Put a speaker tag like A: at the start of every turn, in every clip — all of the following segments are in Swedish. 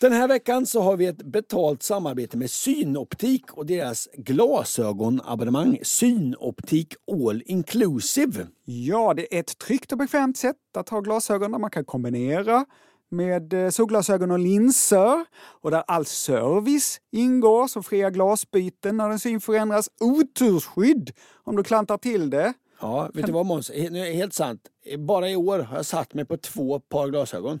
A: Den här veckan så har vi ett betalt samarbete med Synoptik och deras glasögonabonnemang Synoptik All Inclusive.
B: Ja, det är ett tryggt och bekvämt sätt att ha glasögon där man kan kombinera med eh, solglasögon och linser och där all service ingår som fria glasbyten när din syn förändras, otursskydd om du klantar till det.
A: Ja, vet du vad Måns? He- nu är det Helt sant. Eh, Bara i år har jag satt mig på två par glasögon.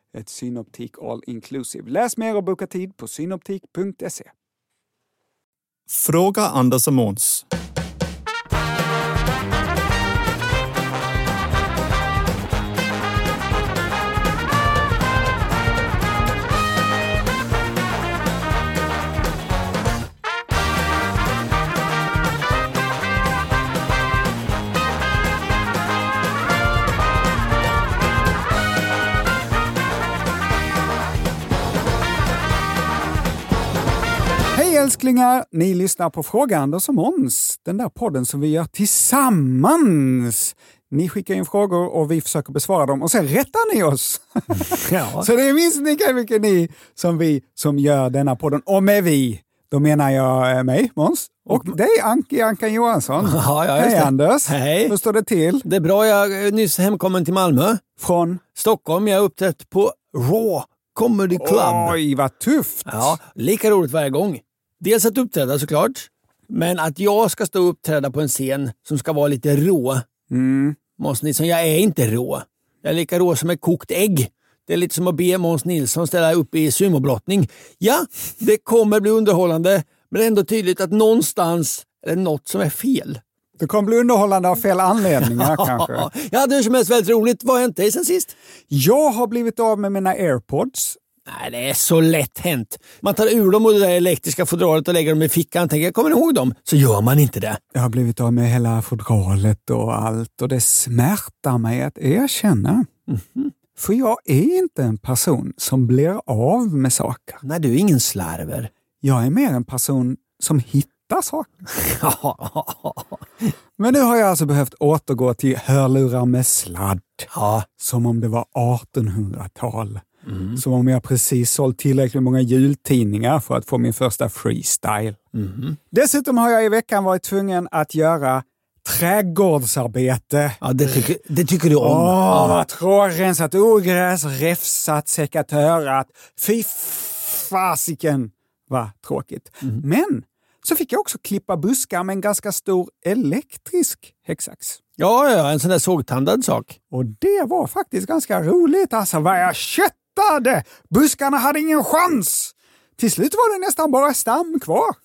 B: ett Synoptik All Inclusive. Läs mer och boka tid på synoptik.se.
C: Fråga Anders och Måns.
B: Hej älsklingar! Ni lyssnar på Fråga Anders och Måns, den där podden som vi gör tillsammans. Ni skickar in frågor och vi försöker besvara dem och sen rättar ni oss. Så det är minst lika mycket ni som vi som gör denna podden. Och med vi, då menar jag eh, mig, Måns, och, dig Anki Ankan Johansson.
A: Ja, ja, just
B: Hej
A: det.
B: Anders!
A: Hej.
B: Hur står det till?
A: Det är bra. Jag är nyss hemkommen till Malmö.
B: Från?
A: Stockholm. Jag har uppträtt på Raw Comedy Club.
B: Oj, vad tufft!
A: Ja, lika roligt varje gång. Dels att uppträda såklart, men att jag ska stå och uppträda på en scen som ska vara lite rå.
B: Mm.
A: Måns Nilsson, jag är inte rå. Jag är lika rå som ett kokt ägg. Det är lite som att be Måns Nilsson ställa upp i sumobrottning. Ja, det kommer bli underhållande, men det är ändå tydligt att någonstans är det något som är fel.
B: Det kommer bli underhållande av fel anledningar kanske.
A: Jag hade hur som helst väldigt roligt. Vad har hänt dig sen sist?
B: Jag har blivit av med mina airpods.
A: Nej, det är så lätt hänt. Man tar ur dem ur det där elektriska fodralet och lägger dem i fickan. Tänker jag kommer ni ihåg dem, så gör man inte det.
B: Jag har blivit av med hela fodralet och allt och det smärtar mig att erkänna. För jag är inte en person som blir av med saker.
A: Nej, du är ingen slarver.
B: Jag är mer en person som hittar saker. Men nu har jag alltså behövt återgå till hörlurar med sladd.
A: Ja,
B: Som om det var 1800-tal. Som om jag precis sålt tillräckligt många jultidningar för att få min första freestyle. Dessutom har jag i veckan varit tvungen att göra trädgårdsarbete.
A: ja det, tycker, det tycker du om.
B: Åh, vad tråkigt. Rensat ogräs, räfsat, säckat örat. Fy fasiken vad tråkigt. Men så fick jag också klippa buskar med en ganska stor elektrisk häcksax.
A: Ja, ja, en sån där sågtandad sak.
B: Och det var faktiskt ganska roligt alltså, vad jag köttade! Buskarna hade ingen chans! Till slut var det nästan bara stam kvar.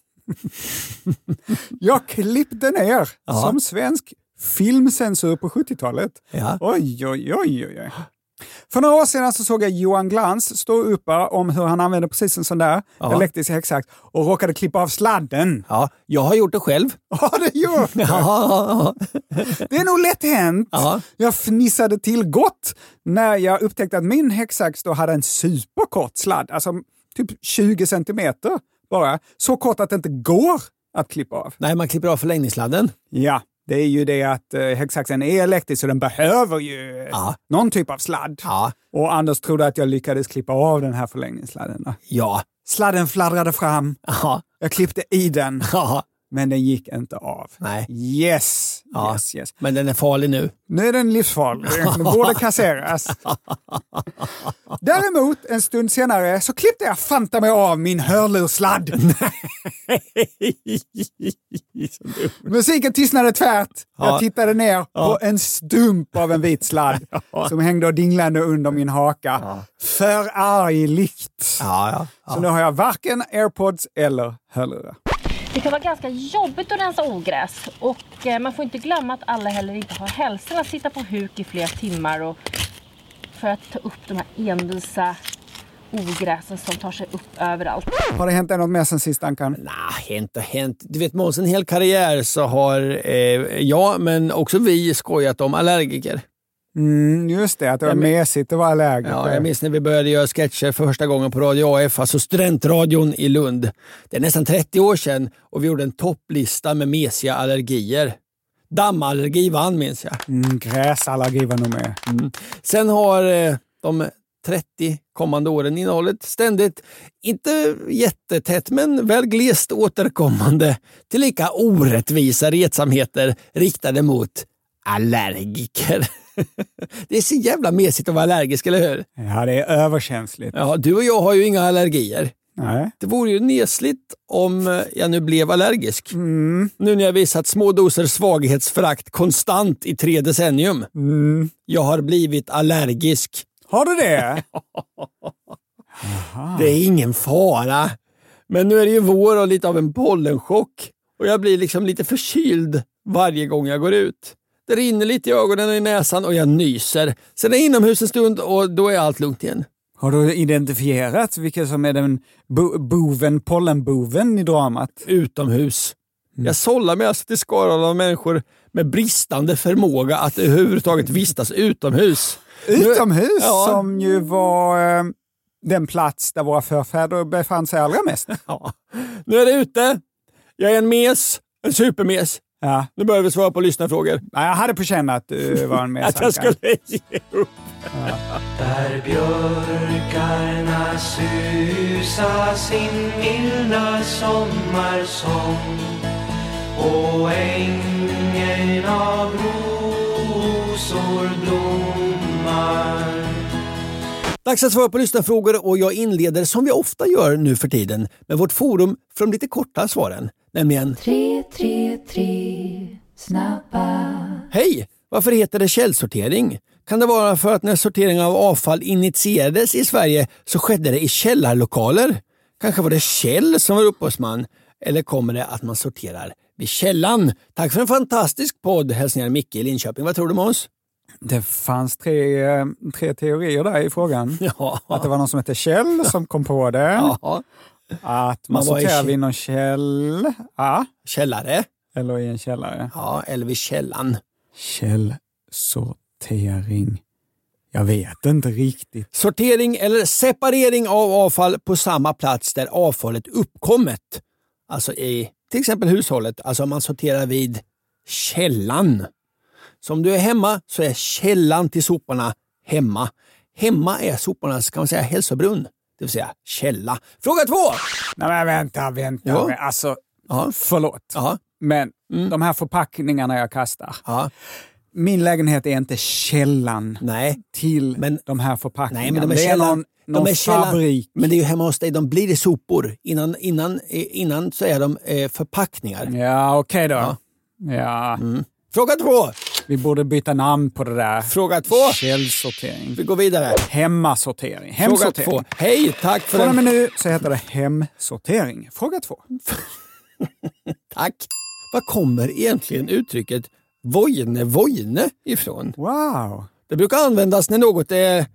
B: jag klippte ner som svensk filmcensur på 70-talet.
A: Ja.
B: Oj, oj, oj, oj. oj. För några år sedan så såg jag Johan Glans stå och uppa om hur han använde precis en sån där elektrisk häcksax och råkade klippa av sladden.
A: Ja, jag har gjort det själv.
B: Ja, det gör
A: Ja,
B: Det är nog lätt hänt.
A: Ja.
B: Jag fnissade till gott när jag upptäckte att min häcksax då hade en superkort sladd, alltså typ 20 centimeter bara. Så kort att det inte går att klippa av.
A: Nej, man klipper av förlängningssladden.
B: Ja, det är ju det att eh, häcksaxen är elektrisk så den behöver ju eh,
A: Ja.
B: någon typ av sladd.
A: Ja.
B: Och Anders trodde att jag lyckades klippa av den här förlängningssladden. då.
A: Ja.
B: Sladden fladdrade fram,
A: Ja.
B: jag klippte i den,
A: Ja.
B: men den gick inte av.
A: Nej.
B: Yes!
A: Ja.
B: Yes, yes.
A: Men den är farlig nu.
B: Nu är den livsfarlig. Den borde kasseras. Däremot, en stund senare så klippte jag fanta mig av min hörlurssladd. Musiken tystnade tvärt.
A: Ja.
B: Jag tittade ner på en stump av en vit sladd som hängde och dinglade under min haka. Förargligt.
A: ja, ja.
B: Så nu har jag varken airpods eller hörlurar.
C: Det kan vara ganska jobbigt att rensa ogräs och eh, man får inte glömma att alla heller inte har hälsan att sitta på huk i flera timmar och för att ta upp de här envisa ogräsen som tar sig upp överallt.
B: Har det hänt något mer sen sist, Ankan?
A: Nah, hänt och hänt. Du vet Måns, en hel karriär så har eh, jag, men också vi, skojat om allergiker.
B: Mm, just det, att det var mesigt att vara allergiker.
A: Ja, jag minns när vi började göra sketcher för första gången på Radio AF, alltså studentradion i Lund. Det är nästan 30 år sedan och vi gjorde en topplista med mesiga allergier. Dammallergi vann minns jag.
B: mm, gräsallergi var nog med.
A: Sen har eh, de 30 kommande åren innehållit ständigt, inte jättetätt, men väl glest återkommande, tillika orättvisa retsamheter riktade mot allergiker. Det är så jävla mesigt att vara allergisk, eller hur?
B: Ja, det är överkänsligt.
A: Ja, du och jag har ju inga allergier.
B: Nej.
A: Det vore ju nesligt om eh, jag nu blev allergisk. Nu när jag visat små doser svaghetsförakt konstant i tre decennium. Jag har blivit allergisk.
B: Har du det?
A: Det är ingen fara. Men nu är det ju vår och lite av en pollenchock. Och jag blir liksom lite förkyld varje gång jag går ut. Det rinner lite i ögonen och i näsan och jag nyser. Sen är jag inomhus en stund och då är allt lugnt igen.
B: Har du identifierat vilken som är den bo- boven, pollenboven i dramat?
A: utomhus. Jag sållar mig alltså till skaran av människor med bristande förmåga att överhuvudtaget vistas utomhus.
B: Utomhus,
A: Ja.
B: som ju var eh, den plats där våra förfäder befann sig allra mest.
A: Ja. Nu är det ute. Jag är en mes, en supermes.
B: Ja.
A: Nu börjar vi svara på lyssnarfrågor.
B: Nej, Jag hade på känn att du var en
A: Att jag
B: medsankare.
A: skulle ge upp.
D: Där björkarna susa sin milda sommarsång och ängen av rosor blommar
A: Dags att svara på lyssnarfrågor och jag inleder som vi ofta gör nu för tiden med vårt forum för de lite korta svaren. Nämligen
E: 333 snabba
A: Hej! Varför heter det källsortering? Kan det vara för att när sortering av avfall initierades i Sverige så skedde det i källarlokaler? Kanske var det Kjell som var upphovsman? Eller kommer det att man sorterar vid källan? Tack för en fantastisk podd! Hälsningar Micke i Linköping. Vad tror du Måns?
B: Det fanns tre, eh, tre teorier där i frågan.
A: Ja.
B: Att det var någon som hette Kjell som kom på det.
A: ja.
B: Att man,
A: Man var i
B: sorterar
A: kä-
B: vid någon käll... Ja,
A: Källare?
B: eller i en källare.
A: Ja, eller vid källan.
B: Källsortering. Jag vet inte riktigt.
A: Sortering eller separering av avfall på samma plats där avfallet uppkommit. Alltså i till exempel hushållet, alltså om man sorterar vid källan. Så om du är hemma så är källan till soporna hemma. Hemma är sopornas, kan man säga, hälsobrunn. Det vill säga källa. Fråga två!
B: Nej, men vänta, vänta.
A: Ja.
B: Men Alltså,
A: Ja.
B: förlåt.
A: Ja, Mm.
B: Men de här förpackningarna jag kastar.
A: ja,
B: Min lägenhet är inte källan
A: nej.
B: till
A: Men-
B: de här förpackningarna.
A: Nej, men de är
B: det är
A: källan.
B: någon, någon
A: de är källan.
B: fabrik.
A: Men det är ju hemma hos dig de blir i sopor. Innan, innan, eh, innan så är de eh, förpackningar.
B: Ja, okej då.
A: Ja. Mm.
B: Ja.
A: Fråga två!
B: Vi borde byta namn på det där.
A: Fråga två.
B: Källsortering.
A: Vi går vidare.
B: Hemmasortering.
A: Fråga
B: Hemsortering.
A: två. Hej, tack för
B: Från och
A: en...
B: med nu så heter det hemsortering. Fråga två.
A: Tack. Var kommer egentligen uttrycket vojne vojne ifrån?
B: Wow!
A: Det brukar användas när något är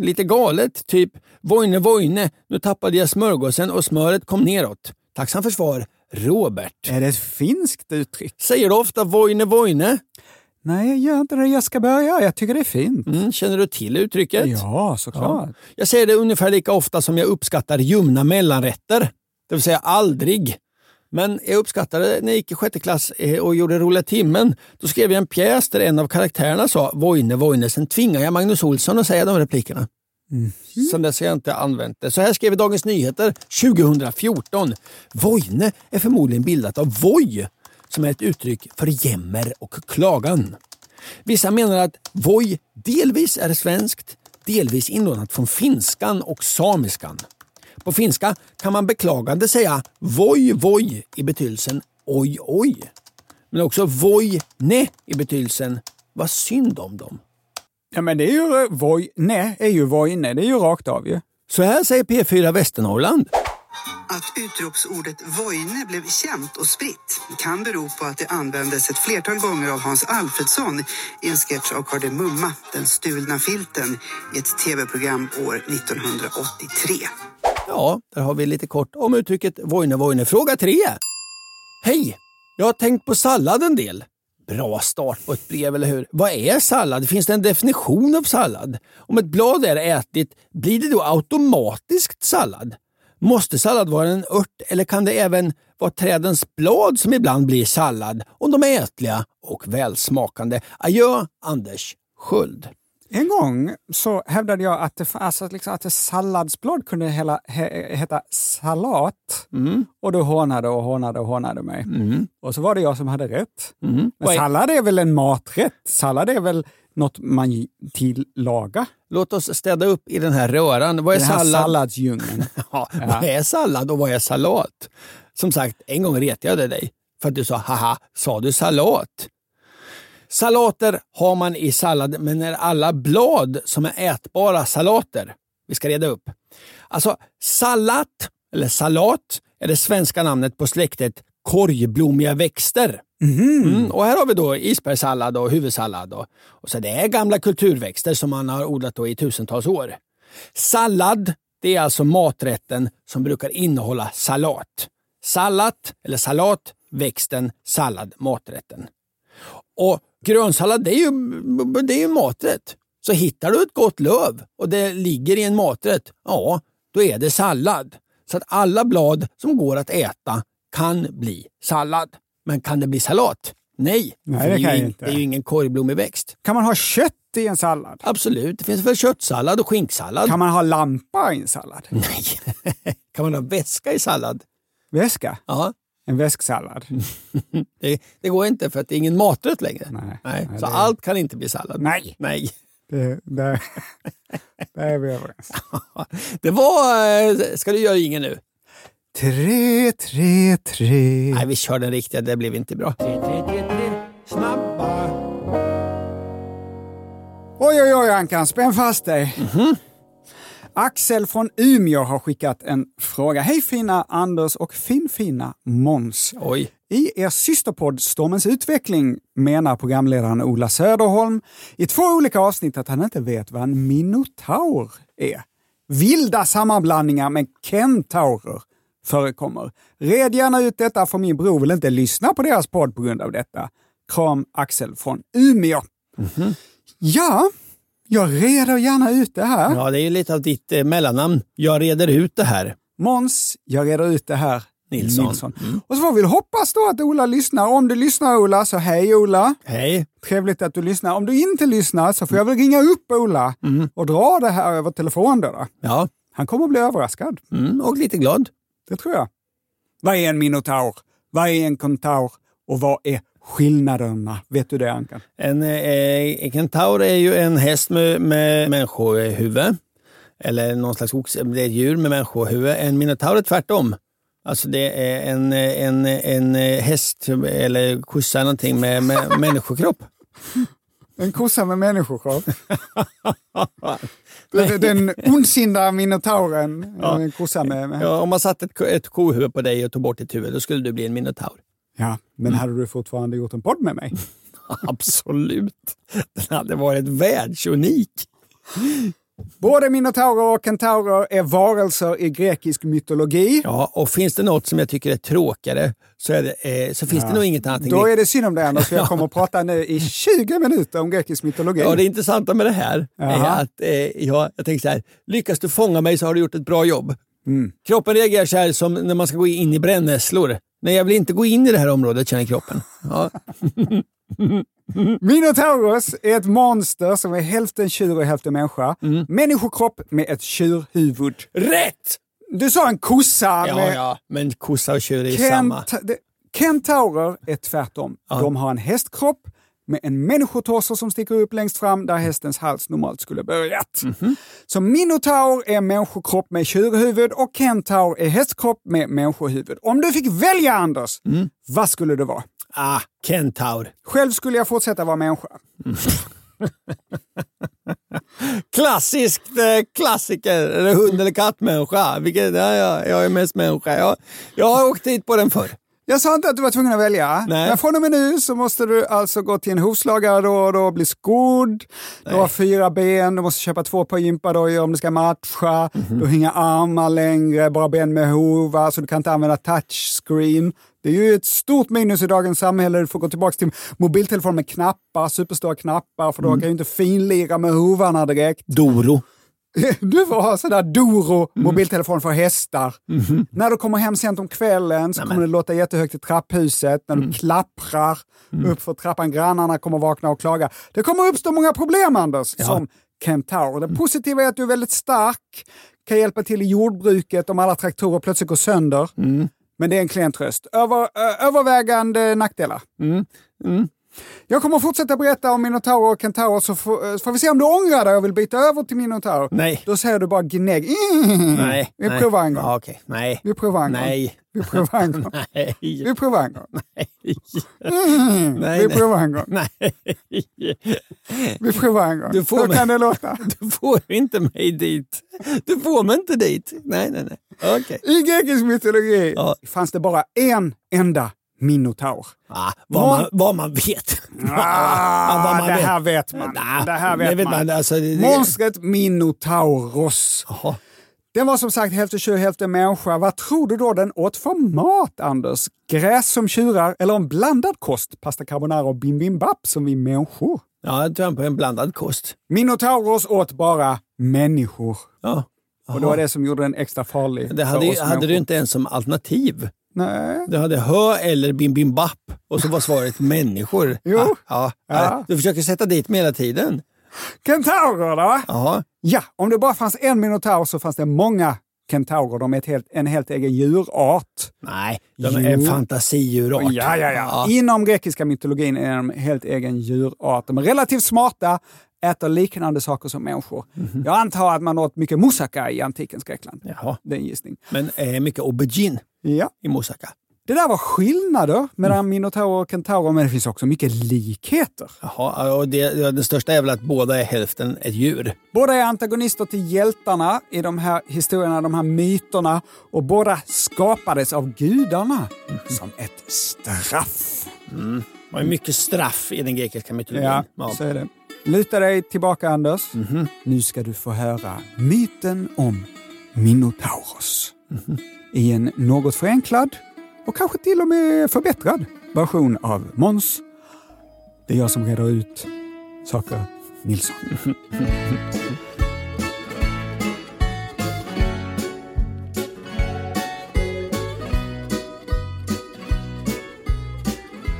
A: lite galet, typ vojne vojne, nu tappade jag smörgåsen och smöret kom neråt. Tacksam för svar, Robert.
B: Är det ett finskt uttryck?
A: Säger du ofta vojne vojne?
B: Nej, jag gör inte det. Jag ska börja. Jag tycker det är fint.
A: Mm, känner du till uttrycket?
B: Ja, såklart.
A: Jag säger det ungefär lika ofta som jag uppskattar ljumna mellanrätter. Det vill säga aldrig. Men jag uppskattade det när jag gick i sjätte klass eh, och gjorde roliga timmen. Då skrev jag en pjäs där en av karaktärerna sa Voine, Voine. Sen tvingade jag Magnus Olsson att säga de replikerna. Sen dess har jag inte använt det. Så här skrev Dagens Nyheter 2014. Voine är förmodligen bildat av Voi som är ett uttryck för jämmer och klagan. Vissa menar att voj delvis är svenskt, delvis inlånat från finskan och samiskan. På finska kan man beklagande säga voj voj i betydelsen oj oj. Men också voj ne i betydelsen vad synd om dem.
B: Ja, men det är ju eh, voj... Nej, är ju vojne. Det är ju rakt av ju.
A: Så här säger P4 Västernorrland.
F: Att utropsordet vojne blev känt och spritt kan bero på att det användes ett flertal gånger av Hans Alfredsson i en sketch av Kardemumma, Den stulna filten, i ett tv-program år 1983.
A: Ja, där har vi lite kort om uttrycket vojne vojne. Fråga tre. Hej! Jag har tänkt på sallad en del. Bra start på ett brev, eller hur? Vad är sallad? Finns det en definition av sallad? Om ett blad är ätligt, blir det då automatiskt sallad? Måste sallad vara en ört eller kan det även vara trädens blad som ibland blir sallad om de är ätliga och välsmakande? Adjö, Anders Sköld.
B: En gång så hävdade jag att, det, fa- alltså, att liksom, att ett salladsblad kunde hela, he, heta salat.
A: Mm.
B: Och du hånade och hånade och hånade mig. Och så var det jag som hade rätt. Men
A: Mm. Vad är-
B: sallad är väl en maträtt? Sallad är väl något man gi- tillagar?
A: Låt oss städa upp i den här röran. Vad är
B: Den här
A: sallad?
B: salladsdjungeln.
A: Ja, vad är sallad och vad är salat? Som sagt, en gång retade jag dig för att du sa haha, sa du salat? Salater har man i sallad, men är alla blad som är ätbara salater? Vi ska reda upp. Alltså, sallat, eller salat, är det svenska namnet på släktet korgblommiga växter. Mm, och här har vi då isbergssallad och huvudsallad. Och, och så det är gamla kulturväxter som man har odlat då i tusentals år. Sallad, det är alltså maträtten som brukar innehålla salat. Sallat, eller salat, växten, sallad, maträtten. Och grönsallad, det är ju, det är ju maträtt. Så hittar du ett gott löv och det ligger i en maträtt, ja, då är det sallad. Så att alla blad som går att äta kan bli sallad. Men kan det bli salat? Nej,
B: Nej,
A: för
B: det
A: är ju
B: kan ju
A: in-
B: inte.
A: det är ju ingen korvblommig växt.
B: Kan man ha kött i en sallad?
A: Absolut, det finns väl köttsallad och skinksallad?
B: Kan man ha lampa i en sallad?
A: Nej. kan man ha väska i sallad?
B: Väska?
A: Ja,
B: En väsksallad?
A: det, det går inte för att det är ingen maträtt längre.
B: Nej. Nej,
A: så
B: det-
A: allt kan inte bli sallad.
B: Nej.
A: Nej.
B: Det, där, där är vi överens.
A: Det var... eh, Ska du göra ingen
B: Mm.
A: nu?
B: Tre, tre, tre.
A: Nej, vi kör den riktiga. Det blev inte bra.
B: Oj, oj, oj Ankan, spänn fast dig. Axel från Umeå har skickat en fråga. Hej fina Anders och finfina Måns.
A: Oj.
B: I er systerpodd Stormens utveckling menar programledaren Ola Söderholm i två olika avsnitt att han inte vet vad en minotaur är. Vilda sammanblandningar med kentaurer förekommer. Red gärna ut detta för min bror vill inte lyssna på deras podd på grund av detta. Kram Axel från Umeå.
A: Mhm.
B: Ja, jag reder gärna ut det här.
A: Ja, det är ju lite av ditt eh, mellannamn. Jag reder ut det här.
B: Måns, jag reder ut det här.
A: Nilsson. Mm.
B: Och så får vi hoppas då att Ola lyssnar. Om du lyssnar Ola, så hej Ola.
A: Hej.
B: Trevligt att du lyssnar. Om du inte lyssnar så får jag väl ringa upp Ola och dra det här över telefon då. då.
A: Ja,
B: Han kommer att bli överraskad.
A: mm, och lite glad.
B: Det tror jag. Vad är en minotaur? Vad är en kontaur? Och vad är skillnaderna? Vet du det Ankan?
A: En, eh, en kentaur är ju en häst med, med människohuvud. Eller någon slags oxe, det är ett djur med människohuvud. En minotaur är tvärtom. Alltså det är en, eh, en, eh, en eh, häst eller kossa eller någonting med, med människokropp.
B: En kossa med människokropp. Den- Den ondsinda minotauren. En kossa med... med.
A: Ja, om man satte ett, ko- ett kohuvud på dig och tog bort ditt huvud, då skulle du bli en minotaur.
B: Ja, men hade du fortfarande gjort en podd med mig?
A: Absolut. Den hade varit världsunik.
B: Både minotaurer och kentaurer är varelser i grekisk mytologi.
A: Ja, och finns det något som jag tycker är tråkigare så, är det, eh, så finns det nog inget annat än
B: Då
A: grek-
B: är det synd om dig Anders, för jag kommer att prata nu i 20 minuter om grekisk mytologi.
A: Ja, det intressanta med det här
B: Jaha.
A: är att eh, jag, jag tänker så här, lyckas du fånga mig så har du gjort ett bra jobb.
B: Mm.
A: Kroppen reagerar så här som när man ska gå in i brännässlor. Nej, jag vill inte gå in i det här området känner kroppen. Ja,
B: Minotauros är ett monster som är hälften tjur och hälften människa.
A: Mm.
B: Människokropp med ett tjurhuvud.
A: rätt!
B: Du sa en kossa
A: Ja,
B: med
A: ja, men kossa och tjur är ju samma.
B: Kent... det- Kentaurer är tvärtom. De har en hästkropp med en människotorso som sticker upp längst fram där hästens hals normalt skulle börjat.
A: Mhm.
B: Så minotaur är människokropp med tjurhuvud och kentaur är hästkropp med människohuvud. Om du fick välja Anders,
A: Mm.
B: vad skulle det vara?
A: Ah, kentaur.
B: Själv skulle jag fortsätta vara människa.
A: Klassiskt eh, klassiker. Är det hund eller kattmänniska? Vilket, ja, ja, jag är mest människa. Jag, jag har åkt dit på den förr.
B: Jag sa inte att du var tvungen att välja,
A: Nej.
B: men från och med nu så måste du alltså gå till en hovslagare då och då, bli skodd, du har fyra ben, du måste köpa två par gympadojor om du ska matcha, du har inga armar längre, bara ben med hovar, så du kan inte använda touchscreen. Det är ju ett stort minus i dagens samhälle, du får gå tillbaka till mobiltelefon med knappar, superstora knappar, för då kan ju inte finlira med hovarna direkt.
A: Doro.
B: Du får ha sån där Doro-mobiltelefon för hästar. När du kommer hem sent om kvällen så kommer det låta jättehögt i trapphuset när du klapprar upp för trappan. Grannarna kommer vakna och klaga. Det kommer uppstå många problem, Anders, som kentaur. Det positiva är att du är väldigt stark, kan hjälpa till i jordbruket om alla traktorer plötsligt går sönder. Men det är en klen tröst. Över, ö, övervägande nackdelar. Jag kommer fortsätta berätta om minotaurer och kentaurer så får, eh, får vi se om du ångrar dig och vill byta över till minotaur.
A: Nej.
B: Då säger du bara gnägg. Mm.
A: Nej.
B: Vi
A: nej.
B: provar en gång.
A: Ja, okej. Nej.
B: Vi provar en gång.
A: Nej.
B: Vi provar en gång.
A: Nej.
B: Vi provar en gång. Mm.
A: Nej,
B: Vi
A: nej.
B: provar en gång.
A: Nej.
B: Vi provar en gång.
A: Du får
B: Hur
A: mig.
B: kan det låta?
A: Du får inte mig dit. Du får mig inte dit. Nej, nej, nej. Okej.
B: I grekisk mytologi
A: Ja.
B: fanns det bara en enda minotaur.
A: Ah, vad, man, vad man vet. Ah, vad
B: Ah,
A: man
B: det
A: vet.
B: här vet man.
A: Nah,
B: Det här vet,
A: det vet
B: man.
A: man, alltså, det- det-
B: Monstret Minotauros.
A: Jaha.
B: Den var som sagt hälften tjur, hälften människa. Vad tror du då den åt för mat, Anders? Gräs som tjurar eller en blandad kost? Pasta carbonara och bimbimbap som vi människor.
A: Ja, jag tror på en blandad kost.
B: Minotauros åt bara människor.
A: Ja.
B: Och det var det som gjorde den extra farlig
A: Det hade,
B: för
A: ju-
B: oss
A: hade du
B: människor.
A: inte ens som alternativ.
B: Nej.
A: Du hade hö eller bim bim bap och så var svaret människor.
B: Jo.
A: Ja, ja,
B: Ja.
A: Du försöker sätta dit mig hela tiden.
B: Kentaurer då?
A: Ja.
B: Ja, om det bara fanns en minotaur så fanns det många kentaurer. De är ett helt, en helt egen djurart.
A: Nej, de är en
B: Jo.
A: fantasidjurart.
B: Ja, ja, ja. Inom grekiska mytologin är de helt egen djurart. De är relativt smarta, äter liknande saker som människor. Jag antar att man åt mycket moussaka i antikens Grekland.
A: Mhm. Jaha.
B: Det är en gissning.
A: Men eh, mycket aubergine
B: Ja.
A: i moussaka.
B: Det där var skillnader mellan
A: Mm.
B: minotaurer och kentaurer, men det finns också mycket likheter.
A: Jaha, ja, och det, ja, den största är väl att båda är hälften ett djur.
B: Båda är antagonister till hjältarna i de här historierna, de här myterna. Och båda skapades av gudarna som ett straff.
A: Det var ju mycket straff i den grekiska mytologin.
B: Ja, så är det. Luta dig tillbaka Anders. Nu ska du få höra myten om Minotauros. I en något förenklad och kanske till och med förbättrad version av Måns. Det är jag som reder ut saker, Nilsson.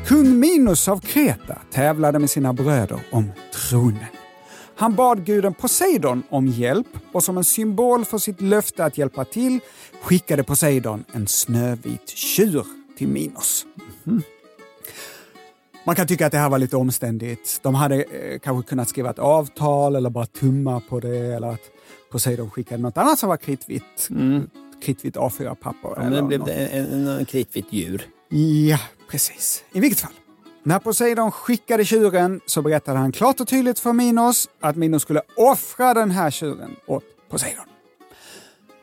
B: Kung Minos av Kreta tävlade med sina bröder om tronen. Han bad guden Poseidon om hjälp och som en symbol för sitt löfte att hjälpa till skickade Poseidon en snövit tjur till Minos. Mhm. Man kan tycka att det här var lite omständigt. De hade eh, kanske kunnat skriva ett avtal eller bara tumma på det eller att Poseidon skickade något annat som var kritvitt. Kritvitt A4-papper.
A: Mm. Ja, men
B: eller
A: det blev
B: något.
A: det en, en, en kritvitt djur.
B: Ja, precis. I vilket fall. När Poseidon skickade tjuren så berättade han klart och tydligt för Minos att Minos skulle offra den här tjuren åt Poseidon.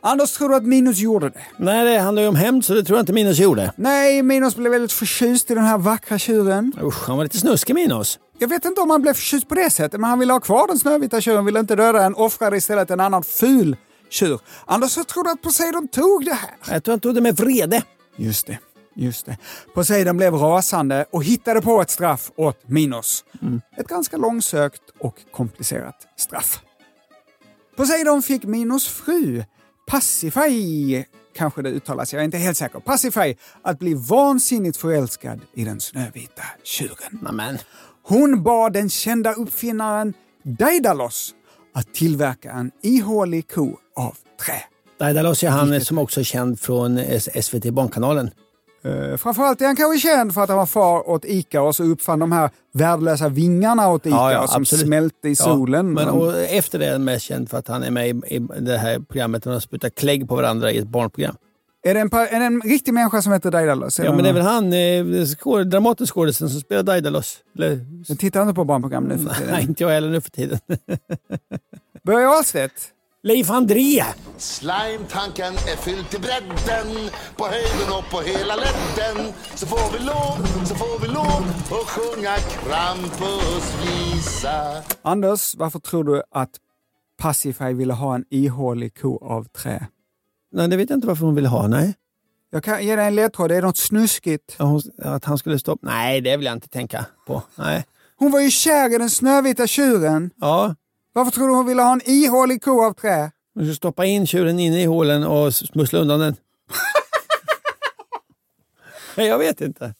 B: Anders, tror du att Minos gjorde det?
A: Nej, det handlar ju om hämnd så det tror jag inte Minos gjorde.
B: Nej, Minos blev väldigt förtjust i den här vackra tjuren.
A: Usch, han var lite snuskig Minos.
B: Jag vet inte om han blev förtjust på det sättet, men han ville ha kvar den snövita tjuren, ville inte döda den, offrade istället en annan ful tjur. Anders, hur tror du att Poseidon tog det här?
A: Jag tror han tog det med vrede.
B: Just det. Just det. Poseidon blev rasande och hittade på ett straff åt Minos. Ett ganska långsökt och komplicerat straff. Poseidon fick Minos fru, Passifai, kanske det uttalas, jag är inte helt säker, Passifai, att bli vansinnigt förälskad i den snövita tjuren.
A: Nämen.
B: Hon bad den kända uppfinnaren Daidalos att tillverka en ihålig ko av trä.
A: Daidalos är han som också är känd från S- SVT Barnkanalen.
B: Eh, Framförallt är han kanske känd för att han var far åt ICA och så uppfann de här värdelösa vingarna åt ICA
A: Ja, ja,
B: som
A: absolut.
B: smälte i solen.
A: Men, och efter det är han mest känd för att han är med i, i det här programmet där de sprutar klägg på varandra i ett barnprogram.
B: är, det en, pa- är det en riktig människa som heter Daidalos?
A: Ja, men det är väl han, eh, skåd- Dramatenskådisen som spelar Daidalos. Eller,
B: Jag tittar inte på barnprogram nu för
A: nej,
B: tiden.
A: inte jag heller nu för tiden.
B: Börje Ahlstedt?
A: Leif André!
G: Slime-tanken är fylld till bredden På höjden och på hela ledden Så får vi lov, så får vi lov att sjunga Krampusvisa
B: Anders, varför tror du att Pacify ville ha en ihålig ko av trä?
A: Nej, det vet jag inte varför hon ville ha. Nej.
B: Jag kan ge dig en ledtråd, det är något snuskigt.
A: Ja, hon, att han skulle stoppa... Nej, det vill jag inte tänka på. Nej.
B: Hon var ju kär i den snövita tjuren.
A: Ja,
B: Varför tror du hon ville ha en ihålig ko av trä?
A: hon skulle stoppa in tjuren inne i hålen och smussla undan den. nej, jag vet inte.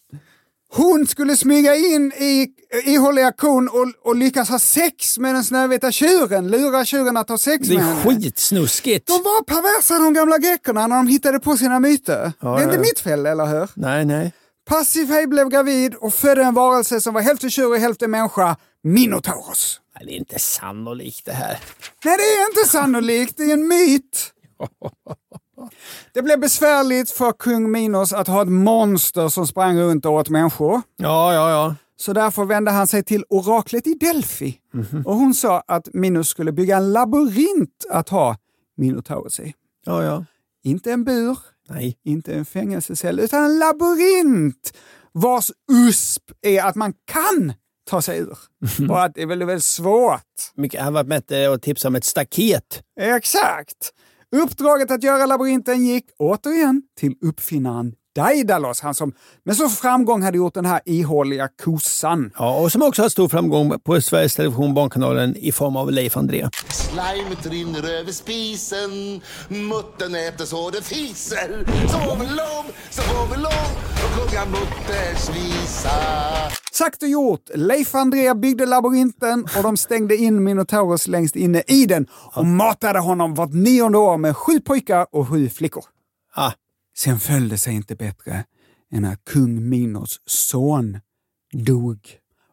B: Hon skulle smyga in i ihåliga kon och, och lyckas ha sex med den snövita tjuren, lura tjuren att ha sex
A: Det
B: med
A: är
B: henne.
A: skitsnuskigt.
B: De var perversa de gamla greckerna när de hittade på sina myter. det är inte
A: ja.
B: mitt fel, eller hur?
A: Nej, nej.
B: Passifej blev gravid och födde en varelse som var hälften tjur och hälften människa, Minotauros.
A: nej. Det är inte sannolikt det här.
B: Nej, det är inte sannolikt. Det är en myt. Det blev besvärligt för kung Minos att ha ett monster som sprang runt och åt människor.
A: Ja, ja, ja.
B: Så därför vände han sig till oraklet i Delphi. Och hon sa att Minos skulle bygga en labyrint att ha Minotaurus i.
A: ja, ja.
B: Inte en bur,
A: Nej.
B: inte en fängelsecell, utan en labyrint vars USP är att man kan ta sig ur. Och att det är väldigt, väldigt svårt.
A: Mycket, han var med och tipsade eh, om ett staket.
B: Exakt! Uppdraget att göra labyrinten gick återigen till uppfinnaren Daidalos, han som med så framgång hade gjort den här ihåliga kossan.
A: Ja, och som också har stor framgång på Sveriges Television Barnkanalen i form av Leif André.
G: Slimet rinner över spisen Muttern äter så det fiser Så får vi lov, så får vi lov att sjunga Mutters visa
B: Sagt och gjort, Leif André byggde labyrinten och de stängde in Minotaurus längst inne i den och matade honom vart nionde år med sju pojkar och sju flickor.
A: Ah.
B: Sen föll det sig inte bättre än att kung Minos son dog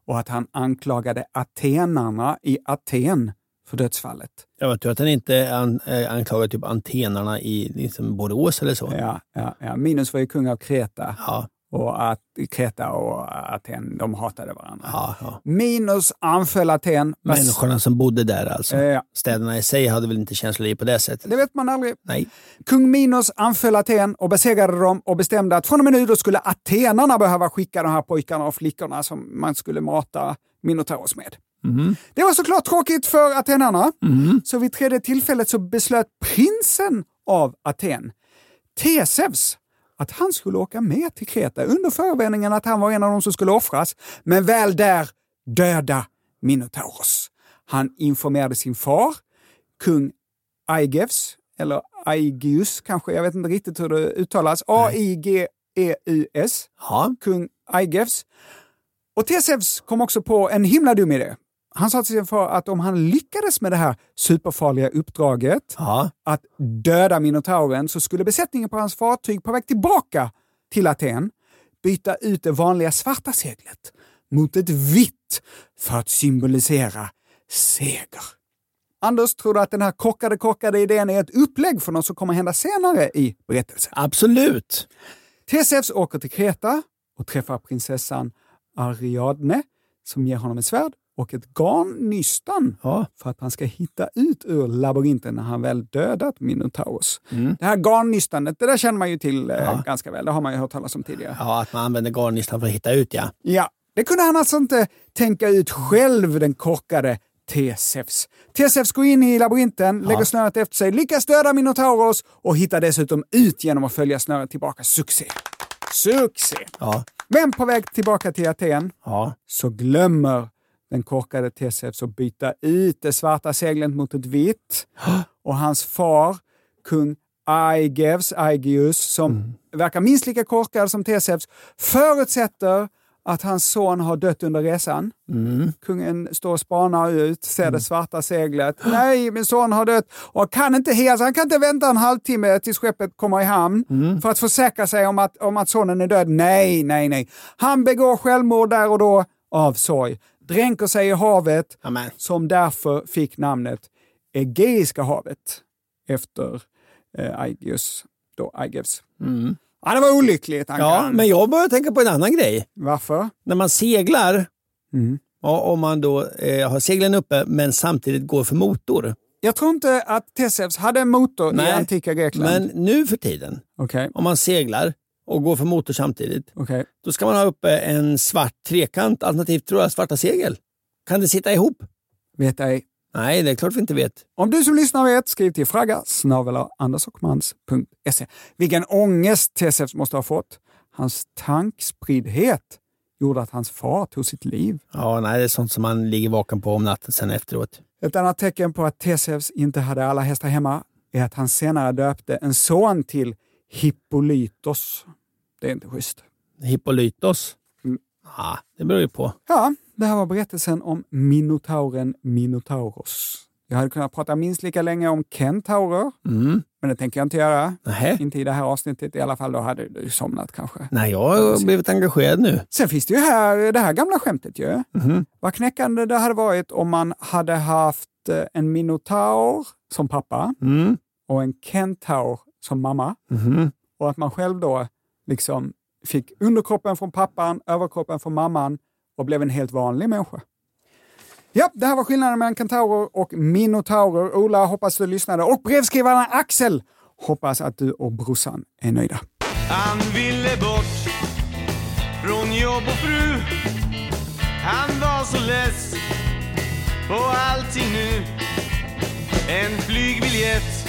B: och att han anklagade atenarna i Aten för dödsfallet.
A: Jag var tur att han inte an, eh, anklagade typ antenarna i liksom Borås eller så.
B: Ja, ja, ja. Minos var ju kung av Kreta
A: Ja,
B: och att Kreta och Aten, de hatade varandra.
A: ja, ja.
B: Minos anföll Aten. men-
A: Människorna som bodde där alltså.
B: Ja.
A: Städerna i sig hade väl inte känsloliv på det sättet?
B: Det vet man aldrig.
A: Nej.
B: Kung Minos anföll Aten och besegrade dem och bestämde att från och med nu då skulle atenarna behöva skicka de här pojkarna och flickorna som man skulle mata Minotauros med. Det var såklart tråkigt för atenarna, så vid tredje tillfället så beslöt prinsen av Aten, Tesevs, att han skulle åka med till Kreta under förevändningen att han var en av dem som skulle offras, men väl där döda Minotauros. Han informerade sin far, kung Aigevs, eller Aigeus kanske, jag vet inte riktigt hur det uttalas, A-I-G-E-U-S,
A: Ja.
B: E kung Aigevs. Och Tesevs kom också på en himla dum idé. Han sa till sin far att om han lyckades med det här superfarliga uppdraget
A: Ja.
B: att döda minotauren så skulle besättningen på hans fartyg på väg tillbaka till Aten byta ut det vanliga svarta seglet mot ett vitt för att symbolisera seger. Anders, tror du att den här korkade korkade idén är ett upplägg för något som kommer hända senare i berättelsen?
A: Absolut.
B: Tesseus åker till Kreta och träffar prinsessan Ariadne som ger honom ett svärd och ett garnnystan
A: Ja.
B: för att han ska hitta ut ur labyrinten när han väl dödat Minotauros. Det här garnnystanet, det där känner man ju till eh, ganska väl. Det har man ju hört talas om tidigare.
A: Ja, att man använder garnnystan för att hitta ut, ja.
B: Ja, det kunde han alltså inte tänka ut själv, den korkade Tesefs. Tesefs går in i labyrinten, lägger snöret efter sig, lyckas döda Minotauros och hittar dessutom ut genom att följa snöret tillbaka. Succé! Succé!
A: Ja.
B: Men på väg tillbaka till Aten
A: Ja.
B: så glömmer den korkade Tesefs att byta ut det svarta seglet mot ett vitt. Och hans far, kung Aigevs, Aigeus, som verkar minst lika korkad som Tesefs, förutsätter att hans son har dött under resan. Kungen står och spanar ut, ser
A: Mm.
B: det svarta seglet. Nej, min son har dött och kan inte hes, han kan inte vänta en halvtimme tills skeppet kommer i hamn
A: Mm.
B: för att försäkra sig om att, om att sonen är död. Nej, nej, nej. Han begår självmord där och då av sorg. Dränker sig i havet
A: Amen.
B: som därför fick namnet Egeiska havet efter eh, Aigeus, då Aigeus. Ja, det var olyckligt Ankan.
A: Mm. Ja, men jag börjar tänka på en annan grej.
B: Varför?
A: När man seglar,
B: Mm.
A: ja, om man då eh, har seglen uppe men samtidigt går för motor.
B: Jag tror inte att Tesseus hade en motor i
A: Nej,
B: antika Grekland.
A: Men nu för tiden,
B: Okej,
A: om man seglar och går för motor samtidigt,
B: okej.
A: då ska man ha uppe en svart trekant, alternativt tror jag svarta segel. Kan det sitta ihop?
B: Vet ej.
A: Nej, det är klart vi inte vet.
B: Om du som lyssnar vet, skriv till fragga andersochmans.se. Vilken ångest Tesseus måste ha fått. Hans tankspriddhet gjorde att hans far tog sitt liv.
A: Ja, nej, det är sånt som man ligger vaken på om natten sen efteråt.
B: Ett annat tecken på att Tesseus inte hade alla hästar hemma är att han senare döpte en son till Hippolytos. Det är inte schysst.
A: Hippolytos? Ja, det beror ju på.
B: Ja, det här var berättelsen om minotauren Minotauros. Jag hade kunnat prata minst lika länge om kentaurer,
A: Mm.
B: men det tänker jag inte göra.
A: Nähä.
B: Inte i det här avsnittet i alla fall, då hade du somnat kanske.
A: Nej, jag har blivit engagerad nu.
B: Sen finns det ju här, det här gamla skämtet ju.
A: Mhm.
B: Vad knäckande det hade varit om man hade haft eh, en minotaur som pappa
A: Mm.
B: och en kentaur som mamma.
A: Mhm.
B: Och att man själv då liksom fick underkroppen från pappan, överkroppen från mamman och blev en helt vanlig människa. Ja, det här var skillnaden mellan kentaurer och minotaurer. Ola, hoppas du lyssnade. Och brevskrivaren Axel, hoppas att du och brorsan är nöjda.
D: Han ville bort från jobb och fru Han var så less på allting nu En flygbiljett,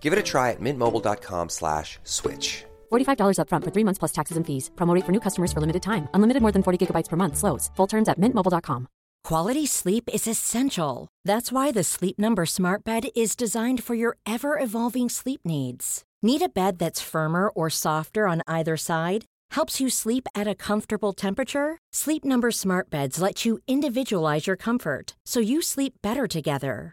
H: Give it a try at mintmobile.com slash switch.
I: $45 upfront for three months plus taxes and fees. Promo rate for new customers for limited time. Unlimited more than 40 gigabytes per month. Slows. Full terms at mintmobile.com.
J: Quality sleep is essential. That's why the Sleep Number Smart Bed is designed for your ever evolving sleep needs. Need a bed that's firmer or softer on either side? Helps you sleep at a comfortable temperature? Sleep Number Smart Beds let you individualize your comfort so you sleep better together.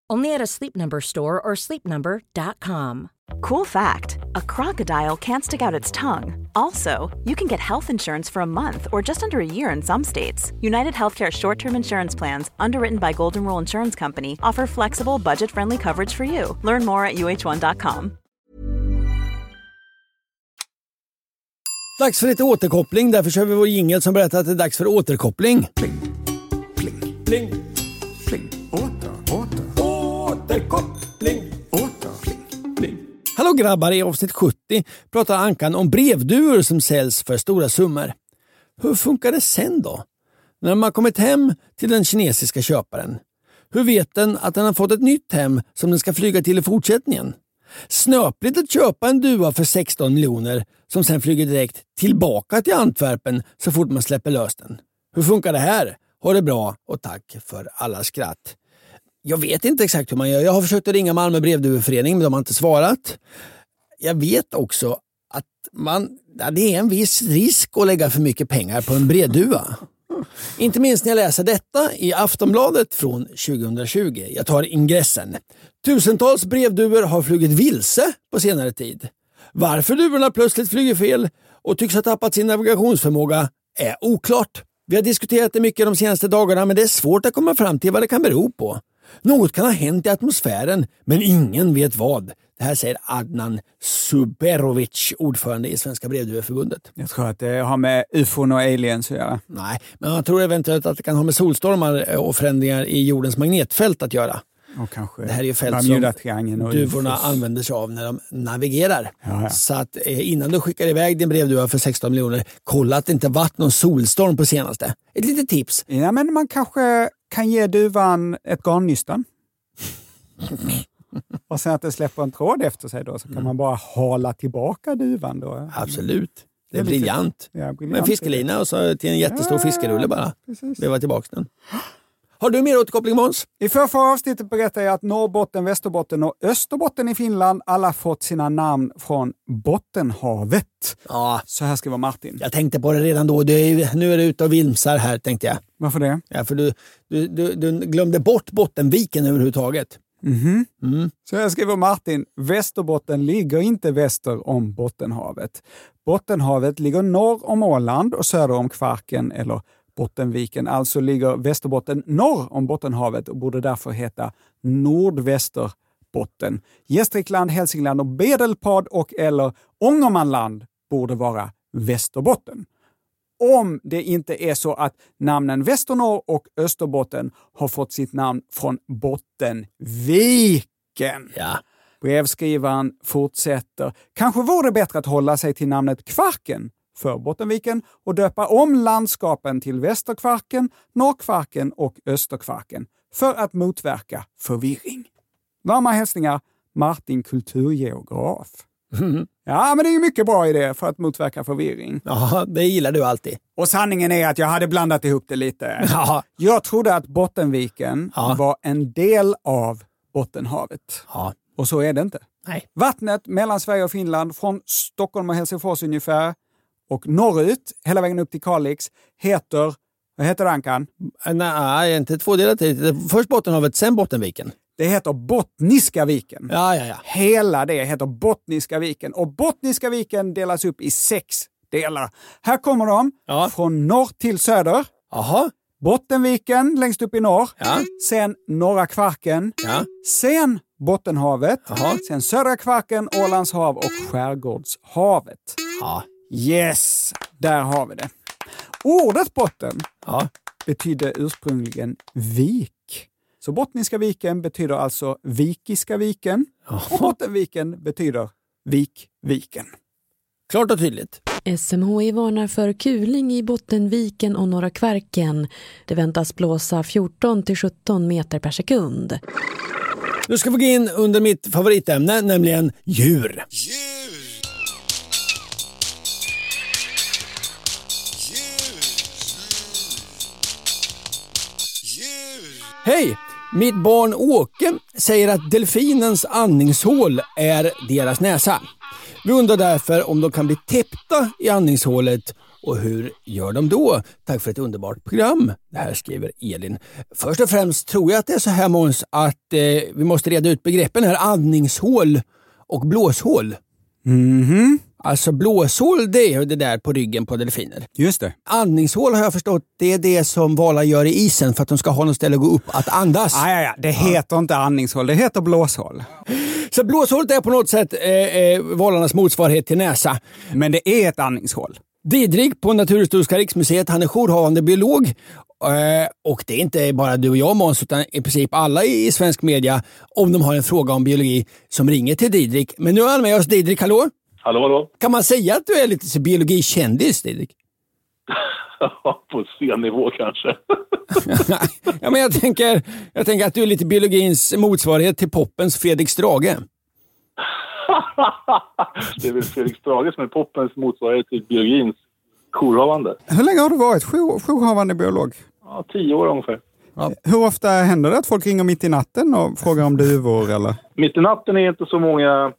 J: Only at a Sleep Number store or sleepnumber.com.
K: Cool fact a crocodile can't stick out its tongue. Also, you can get health insurance for a month or just under a year in some states. United Healthcare short term insurance plans, underwritten by Golden Rule Insurance Company, offer flexible, budget friendly coverage for you. Learn more at uh1.com.
A: Dags för lite återkoppling. Därför kör vi vår jingel som berättar att det är dags för återkoppling. Pling, pling, pling,
B: Pling. Åter, åter,
A: återkoppling.
B: åter. Pling.
A: Hallå grabbar! I avsnitt 70 pratar Ankan om brevduvor som säljs för stora summor. Hur funkar det sen då? När man kommit hem till den kinesiska köparen. Hur vet den att den har fått ett nytt hem som den ska flyga till i fortsättningen? Snöpligt att köpa en duva för 16 miljoner som sen flyger direkt tillbaka till Antwerpen så fort man släpper lös den. Hur funkar det här? Ha det bra och tack för alla skratt. Jag vet inte exakt hur man gör. Jag har försökt att ringa Malmö brevduveförening men de har inte svarat. Jag vet också att man, ja, det är en viss risk att lägga för mycket pengar på en brevduva. Inte minst när jag läser detta i Aftonbladet från 2020. Jag tar ingressen. Tusentals brevduvor har flugit vilse på senare tid. Varför duvorna plötsligt flyger fel och tycks ha tappat sin navigationsförmåga är oklart. Vi har diskuterat det mycket de senaste dagarna men det är svårt att komma fram till vad det kan bero på. Något kan ha hänt i atmosfären men ingen vet vad. Det här säger Adnan Suberovic, ordförande i Svenska Brevduverförbundet.
B: Jag tror att det har med ufon och aliens att göra.
A: Nej, men jag tror eventuellt att det kan ha med solstormar eh, och förändringar i jordens magnetfält att göra.
B: Och kanske
A: Det här är ju fält
B: Bermudatriangeln
A: som
B: och
A: duvorna
B: UFOs.
A: använder sig av när de navigerar.
B: Ja, ja.
A: Så att eh, innan du skickar iväg din brevduva för 16 miljoner, kolla att det inte varit någon solstorm på senaste. Ett litet tips.
B: Ja, men man kanske kan ge duvan ett garnnystan. och sen att den släpper en tråd efter sig då, så kan man bara hala tillbaka duvan då.
A: Absolut. Det är
B: Mm. Det är lite-
A: briljant.
B: Ja, briljant.
A: Med en fiskelina och så till en jättestor fiskerulle bara.
B: Precis.
A: Veva tillbaka den. Har du mer återkoppling Måns?
B: I förra avsnittet berättade jag att Norrbotten, Västerbotten och Österbotten i Finland alla fått sina namn från Bottenhavet.
A: Ja,
B: Så här skriver Martin.
A: jag tänkte på det redan då. Du är, ju- nu är du ute och vimsar här tänkte jag.
B: Varför det?
A: Ja, för du, du, du, du glömde bort Bottenviken överhuvudtaget.
B: Mhm.
A: Mm.
B: Så här skriver Martin, Västerbotten ligger inte väster om Bottenhavet. Bottenhavet ligger norr om Åland och söder om Kvarken eller Bottenviken. Alltså ligger Västerbotten norr om Bottenhavet och borde därför heta Nordvästerbotten. Gästrikland, Hälsingland och Bedelpad och eller Ångermanland borde vara Västerbotten om det inte är så att namnen Västernorr och Österbotten har fått sitt namn från Bottenviken.
A: Ja.
B: Brevskrivaren fortsätter. Kanske vore det bättre att hålla sig till namnet Kvarken för Bottenviken och döpa om landskapen till Västerkvarken, Norrkvarken och Österkvarken för att motverka förvirring. Varma hälsningar Martin Kulturgeograf. Ja, men det är ju mycket bra i det för att motverka förvirring.
A: Ja, det gillar du alltid.
B: Och sanningen är att jag hade blandat ihop det lite.
A: Ja.
B: Jag trodde att Bottenviken
A: Ja.
B: var en del av Bottenhavet.
A: Ja.
B: Och så är det inte.
A: Nej.
B: Vattnet mellan Sverige och Finland, från Stockholm och Helsingfors ungefär, och norrut, hela vägen upp till Kalix, heter... Vad heter det, Ankan?
A: Äh, Nej, inte tvådelat. Först Bottenhavet, sen Bottenviken.
B: Det heter Bottniska viken.
A: Ja, ja, ja.
B: Hela det heter Bottniska viken och Bottniska viken delas upp i sex delar. Här kommer de,
A: Ja.
B: från norr till söder.
A: Jaha.
B: Bottenviken längst upp i norr,
A: Ja.
B: sen Norra Kvarken,
A: Ja.
B: sen Bottenhavet,
A: Jaha.
B: sen Södra Kvarken, Ålands hav och Skärgårdshavet.
A: Ja.
B: Yes, där har vi det. Ordet botten
A: Ja.
B: betydde ursprungligen vik. Så Bottniska viken betyder alltså Vikiska viken och Bottenviken betyder Vikviken.
A: Klart och tydligt.
L: SMHI varnar för kuling i Bottenviken och Norra Kvarken. Det väntas blåsa 14 till 17 meter per sekund.
A: Nu ska vi gå in under mitt favoritämne, nämligen djur. Hej! Mitt barn Åke säger att delfinens andningshål är deras näsa. Vi undrar därför om de kan bli täppta i andningshålet och hur gör de då? Tack för ett underbart program. Det här skriver Elin. Först och främst tror jag att det är så här Måns att eh, vi måste reda ut begreppen här. Andningshål och blåshål.
B: Mhm,
A: Alltså blåshål det är ju det där på ryggen på delfiner.
B: just det.
A: Andningshål har jag förstått, det är det som valar gör i isen för att de ska ha något ställe att gå upp att andas.
B: Ah, ja, ja. Det heter inte andningshål, det heter blåshål.
A: Så blåshålet är på något sätt eh, eh, valarnas motsvarighet till näsa.
B: Men det är ett andningshål.
A: Didrik på Naturhistoriska riksmuseet, han är jourhavande biolog. Eh, och det är inte bara du och jag Måns, utan i princip alla i, i svensk media, om de har en fråga om biologi, som ringer till Didrik. Men nu är han med oss. Didrik, hallå?
M: Hallå, hallå.
A: Kan man säga att du är lite så biologikändis, Didrik?
M: På scennivå kanske.
A: ja, men jag, tänker, jag tänker att du är lite biologins motsvarighet till poppens Fredrik Strage.
M: Det är väl Fredrik Strage som är poppens motsvarighet till biologins jourhavande.
B: Hur länge har du varit jour- jourhavande biolog?
M: Ja, tio år ungefär.
B: Hur ofta händer det att folk ringer mitt i natten och frågar om duvor? Eller?
M: Mitt i natten är inte så många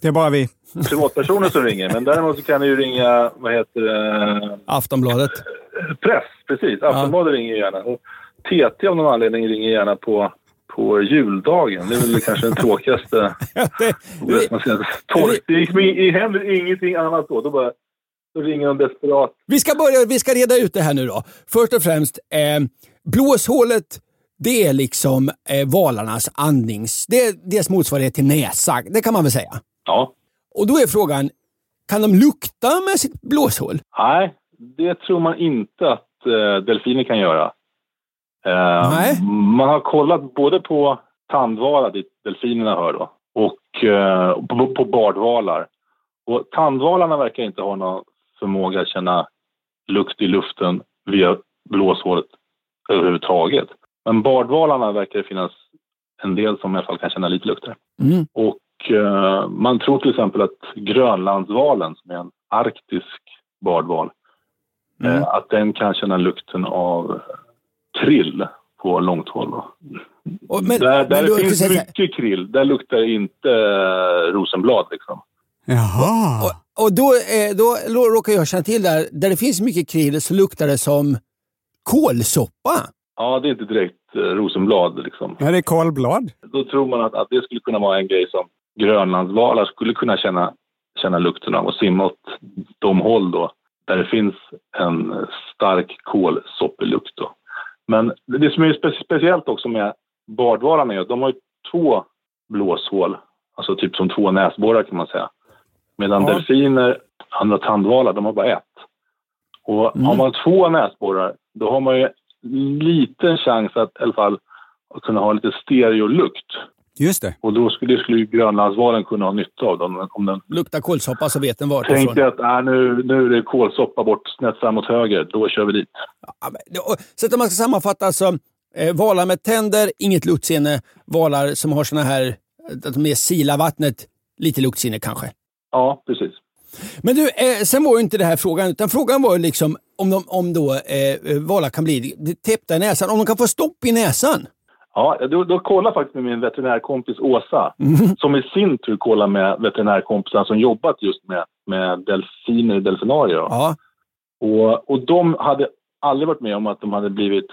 B: Det är bara vi.
M: privatpersoner som ringer, men däremot så kan du ju ringa, vad heter det,
A: Aftonbladet.
M: press, precis. Aftonbladet ringer ju gärna. Och TT av någon anledning ringer gärna på, på juldagen. Det är väl kanske den tråkigaste.
A: det-
M: Man ska- Torrt. Det gick- det händer ingenting annat då. Då, bara, då ringer de desperat.
A: Vi ska, börja, vi ska reda ut det här nu då. Först och främst, eh, blåshålet Det är liksom eh, valarnas andnings... Det är deras motsvarighet till näsa, det kan man väl säga?
M: Ja.
A: Och då är frågan, kan de lukta med sitt blåshål?
M: Nej, det tror man inte att eh, delfiner kan göra. Eh, Man har kollat både på tandvalar, dit delfinerna hör då, och eh, på, på bardvalar. Och tandvalarna verkar inte ha någon förmåga att känna lukt i luften via blåshålet överhuvudtaget. Men bardvalarna verkar det finnas en del som i alla fall kan känna lite lukter.
A: Mm.
M: Och eh, man tror till exempel att grönlandsvalen, som är en arktisk bardval,
A: Mm.
M: eh, att den kan känna lukten av krill på långt håll. Då.
A: men-
M: där där
A: men då-
M: finns
A: precis-
M: mycket krill. Där luktar det inte eh, rosenblad. Liksom.
B: Jaha.
A: Och, och då, eh, då lo- råkar jag känna till där, där det finns mycket krill så luktar det som kålsoppa.
M: Ja, det är inte direkt eh, rosenblad. Liksom.
B: Ja, det är kolblad.
M: Då tror man att, att det skulle kunna vara en grej som grönlandsvalar skulle kunna känna, känna lukten av och simma åt de håll då, där det finns en stark kolsoppelukt. Då. Men det som är spe- speciellt också med bardvalarna är att de har ju två blåshål, alltså typ som två näsborrar kan man säga. Medan
N: Ja.
M: delfiner, andra tandvalar, de har bara ett. Och har man två näsborrar, då har man ju liten chans att i alla fall att kunna ha lite stereolukt.
B: Just det.
M: Och då skulle, det skulle ju grönlandsvalen kunna ha nytta av dem. Om den
A: Luktar kålsoppa så vet den vart det är
M: tänkte
A: ifrån.
M: att äh, nu, nu är det kolsoppa bort, snett fram åt höger, då kör vi dit.
A: Och- Så att om man ska sammanfatta så, eh, valar med tänder, inget luktsinne. Valar som har såna här, eh, att de är sila vattnet, lite luktsinne kanske.
M: Ja, precis.
A: Men du, eh, sen var ju inte det här frågan, utan frågan var ju liksom om, de, om då eh, valar kan bli täppta i näsan, om de kan få stopp i näsan.
M: Ja, då, då kollade faktiskt med min veterinärkompis Åsa, som i sin tur kollar med veterinärkompisar som jobbat just med, med delfiner i delfinarier. då. Och, och de hade aldrig varit med om att de hade blivit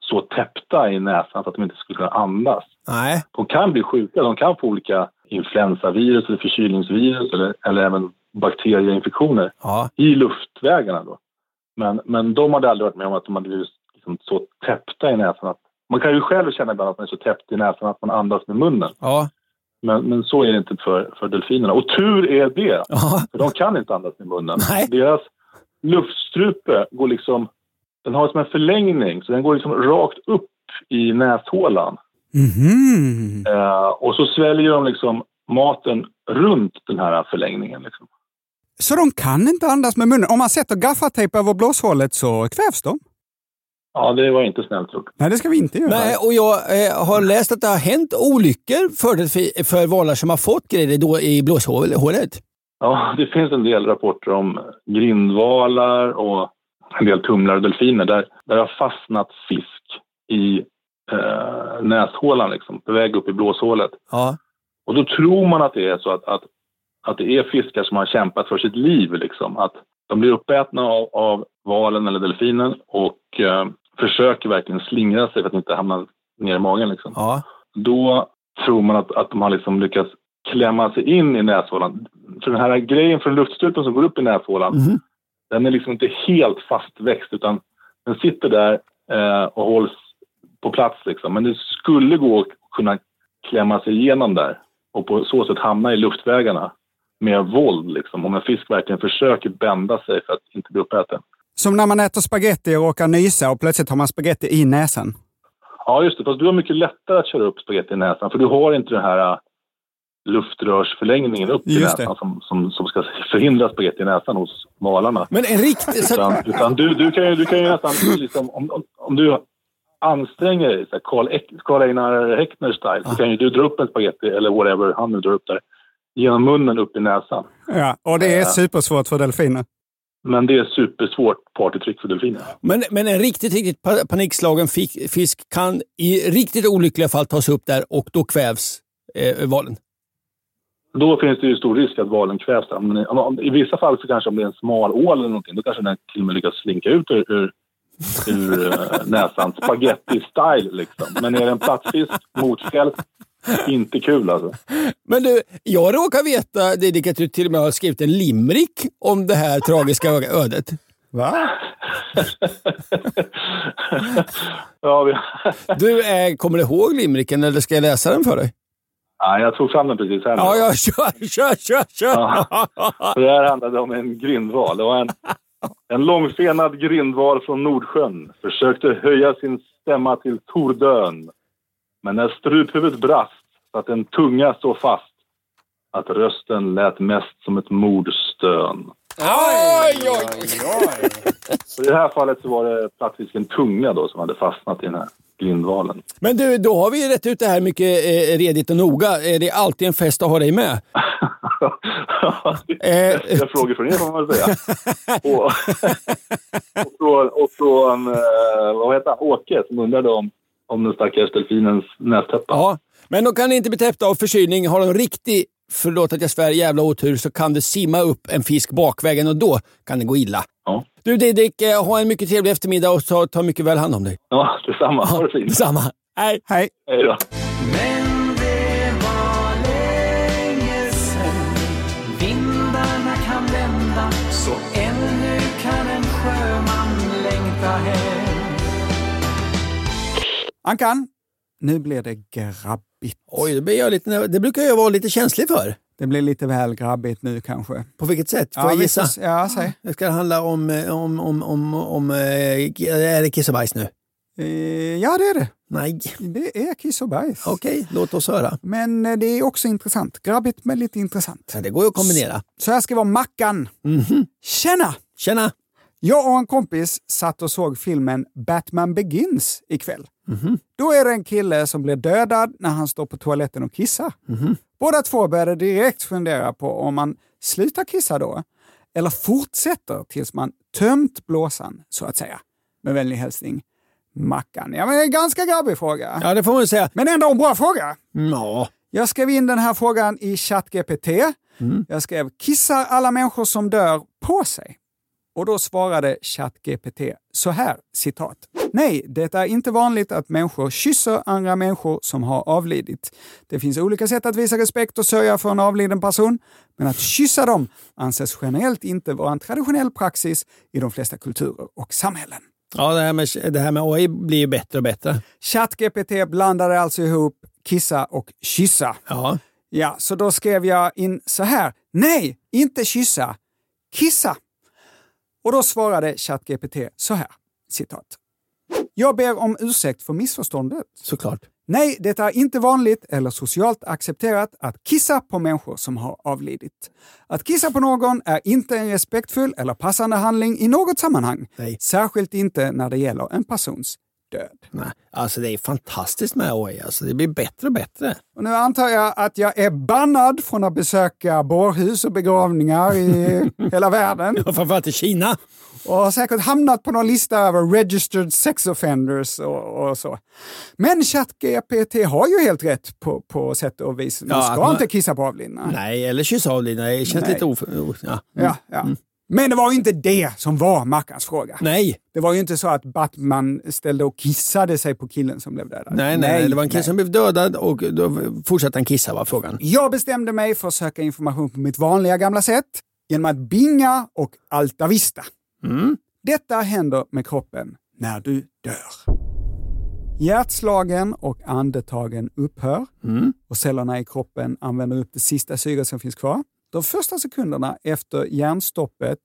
M: så täppta i näsan så att de inte skulle kunna andas.
A: Nej.
M: De kan bli sjuka, de kan få olika influensavirus eller förkylningsvirus eller, eller även bakterieinfektioner i luftvägarna. Då. Men, men de hade aldrig varit med om att de hade blivit liksom så täppta i näsan. Att, man kan ju själv känna ibland att man är så täppt i näsan att man andas med munnen.
A: Ja.
M: Men, men så är det inte för, för delfinerna. Och tur är det! För de kan inte andas med munnen. Deras luftstrupe går liksom... Den har som en förlängning, så den går liksom rakt upp i näshålan.
B: Mhm.
M: Eh, och så sväljer de liksom maten runt den här förlängningen. Liksom.
B: Så de kan inte andas med munnen. Om man sätter gaffatejp över blåshålet så kvävs de.
M: Ja, det var inte snällt gjort.
B: Nej, det ska vi inte göra.
A: Nej, och jag eh, har läst att det har hänt olyckor för, delfi- för valar som har fått grejer då i blåshålet.
M: Ja, det finns en del rapporter om grindvalar och en del tumlare och delfiner där, där det har fastnat fisk i eh, näshålan, liksom, på väg upp i blåshålet.
A: Ja.
M: Och då tror man att det är så att, att, att det är fiskar som har kämpat för sitt liv. Liksom. Att de blir uppätna av, av valen eller delfinen och eh, försöker verkligen slingra sig för att inte hamna ner i magen. Liksom.
A: Ja.
M: Då tror man att, att de har liksom lyckats klämma sig in i näshålan. För den här grejen från luftstrupen som går upp i näshålan, den är liksom inte helt fastväxt utan den sitter där eh, och hålls på plats. Liksom. Men det skulle gå att kunna klämma sig igenom där och på så sätt hamna i luftvägarna med våld. Liksom. Om en fisk verkligen försöker bända sig för att inte bli uppäten.
B: Som när man äter spaghetti och råkar nysa och plötsligt har man spaghetti i näsan.
M: Ja, just det. Fast du har mycket lättare att köra upp spagetti i näsan för du har inte den här äh, luftrörsförlängningen upp i
A: Just det.
M: näsan som, som, som ska förhindra spagetti i näsan hos valarna.
A: Men en riktig...
M: Utan, utan du, du, kan ju, du kan ju nästan, liksom, om, om, om du anstränger dig, så här, Carl, Ek- Carl Einar Häckner style,
A: Ah.
M: så kan ju du dra upp en spagetti eller whatever han nu drar upp där, genom munnen upp i näsan.
B: Ja, och det är
M: Ja.
B: supersvårt för delfiner.
M: Men det är supersvårt partytrick för delfiner.
A: Men, men en riktigt, riktigt pa- panikslagen fisk, fisk kan i riktigt olyckliga fall tas upp där och då kvävs eh, valen.
M: Då finns det ju stor risk att valen kvävs. där. Men om- om- I vissa fall så kanske om det är en smal ål eller någonting, då kanske den till och med lyckas slinka ut ur, ur, ur eh, näsan. Spaghetti-style liksom. Men är det en plattfisk, motfjäll, inte kul alltså.
A: Men du, jag råkar veta, Didrik, att du till och med har skrivit en limrik om det här tragiska ö- ödet.
B: Va?
M: ja, vi...
A: Du, eh, kommer du ihåg limericken eller ska jag läsa den för dig?
M: Nej, jag tog fram den precis här nu.
A: Ja, ja, kör, kör, kör, kör!
M: Ja. Det här handlade om en grindval. Det var en, en långfenad grindval från Nordsjön försökte höja sin stämma till Tordön. Men när struphuvudet brast så att en tunga så fast att rösten lät mest som ett mordstön.
A: Oj, oj, oj!
M: Så i det här fallet så var det plattfisken tunga då som hade fastnat i den här grindvalen.
A: Men du, då har vi ju rätt ut det här mycket eh, redigt och noga. Eh, Det är alltid en fest att ha dig med. Eh,
M: Bästa frågor från er får man väl säga. och, och från, och från eh, vad heter han, Åke som undrade om, om den stackars delfinens nästäpp.
A: Ja, men de kan inte bli täppta av förkylning. Har de riktig, förlåt att jag svär, jävla otur så kan det simma upp en fisk bakvägen och då kan det gå illa.
M: Ja.
A: Du Didrik, eh, ha en mycket trevlig eftermiddag och ta, ta mycket väl hand om dig.
M: Ja, detsamma. Ha det fint.
A: Detsamma. Hej!
B: Hej!
M: Hej då.
D: Vindarna kan vända så ännu kan en sjöman längta hem
B: Ankan, nu blir det grabbigt.
A: Oj, det, blir jag lite, det brukar jag vara lite känslig för.
B: Det blir lite väl grabbigt nu kanske.
A: På vilket sätt? Får
B: Ja,
A: jag
B: vi
A: gissa?
B: får se. Ja, säg.
A: Det ska handla om, eh, om, om, om, om eh, är det kiss och bajs nu?
B: Eh, Ja, det är det.
A: Nej.
B: Det är kiss och bajs.
A: Okej, låt oss höra.
B: Men eh, det är också intressant. Grabbigt men lite intressant.
A: Ja, Det går ju att kombinera.
B: Så här skriver Mackan. Tjena!
A: Tjena!
B: Jag och en kompis satt och såg filmen Batman Begins ikväll. Då är det en kille som blir dödad när han står på toaletten och kissar. Båda två började direkt fundera på om man slutar kissa då eller fortsätter tills man tömt blåsan, så att säga. Med vänlig hälsning Mackan. Ja, men det är en ganska grabbig fråga.
A: Ja, det får man ju säga. Mm,
B: Men ändå en bra fråga.
A: Ja.
B: Jag skrev in den här frågan i ChatGPT. Jag skrev “Kissar alla människor som dör på sig?” Och då svarade ChatGPT så här, citat. Nej, det är inte vanligt att människor kysser andra människor som har avlidit. Det finns olika sätt att visa respekt och sörja för en avliden person, men att kyssa dem anses generellt inte vara en traditionell praxis i de flesta kulturer och samhällen.
A: Ja, det här, med, det här med AI blir ju bättre och bättre.
B: ChatGPT blandade alltså ihop kissa och kyssa.
A: Ja.
B: Ja, så då skrev jag in så här. Nej, inte kyssa. Kissa. Och då svarade ChatGPT så här. Citat. Jag ber om ursäkt för missförståndet.
A: Såklart.
B: Nej, det är inte vanligt eller socialt accepterat att kissa på människor som har avlidit. Att kissa på någon är inte en respektfull eller passande handling i något sammanhang.
A: Nej.
B: Särskilt inte när det gäller en persons död.
A: Nej. Alltså det är fantastiskt med AI. Alltså, det blir bättre och bättre.
B: Och nu antar jag att jag är bannad från att besöka bårhus och begravningar i hela världen
A: Ja, Framförallt i Kina.
B: och har säkert hamnat på någon lista över registered sex offenders och, och så. Men ChatGPT har ju helt rätt på, på sätt och vis. Man
A: Ja,
B: ska
A: att man-
B: inte kissa på avlidna.
A: Nej, Mm. eller kyssa avlidna. Det känns
B: Nej.
A: lite of... o- Ja.
B: Ja, ja. Men det var ju inte det som var Mackans fråga.
A: Nej.
B: Det var ju inte så att Batman ställde och kissade sig på killen som blev dödad.
A: Nej, nej, nej, det var en kille
B: nej.
A: som blev dödad och då fortsatte han kissa var frågan.
B: Jag bestämde mig för att söka information på mitt vanliga gamla sätt genom att binga och altavista.
A: Mm,
B: Detta händer med kroppen när du dör. Hjärtslagen och andetagen upphör
A: mm,
B: och cellerna i kroppen använder upp det sista syre som finns kvar. De första sekunderna efter hjärnstoppet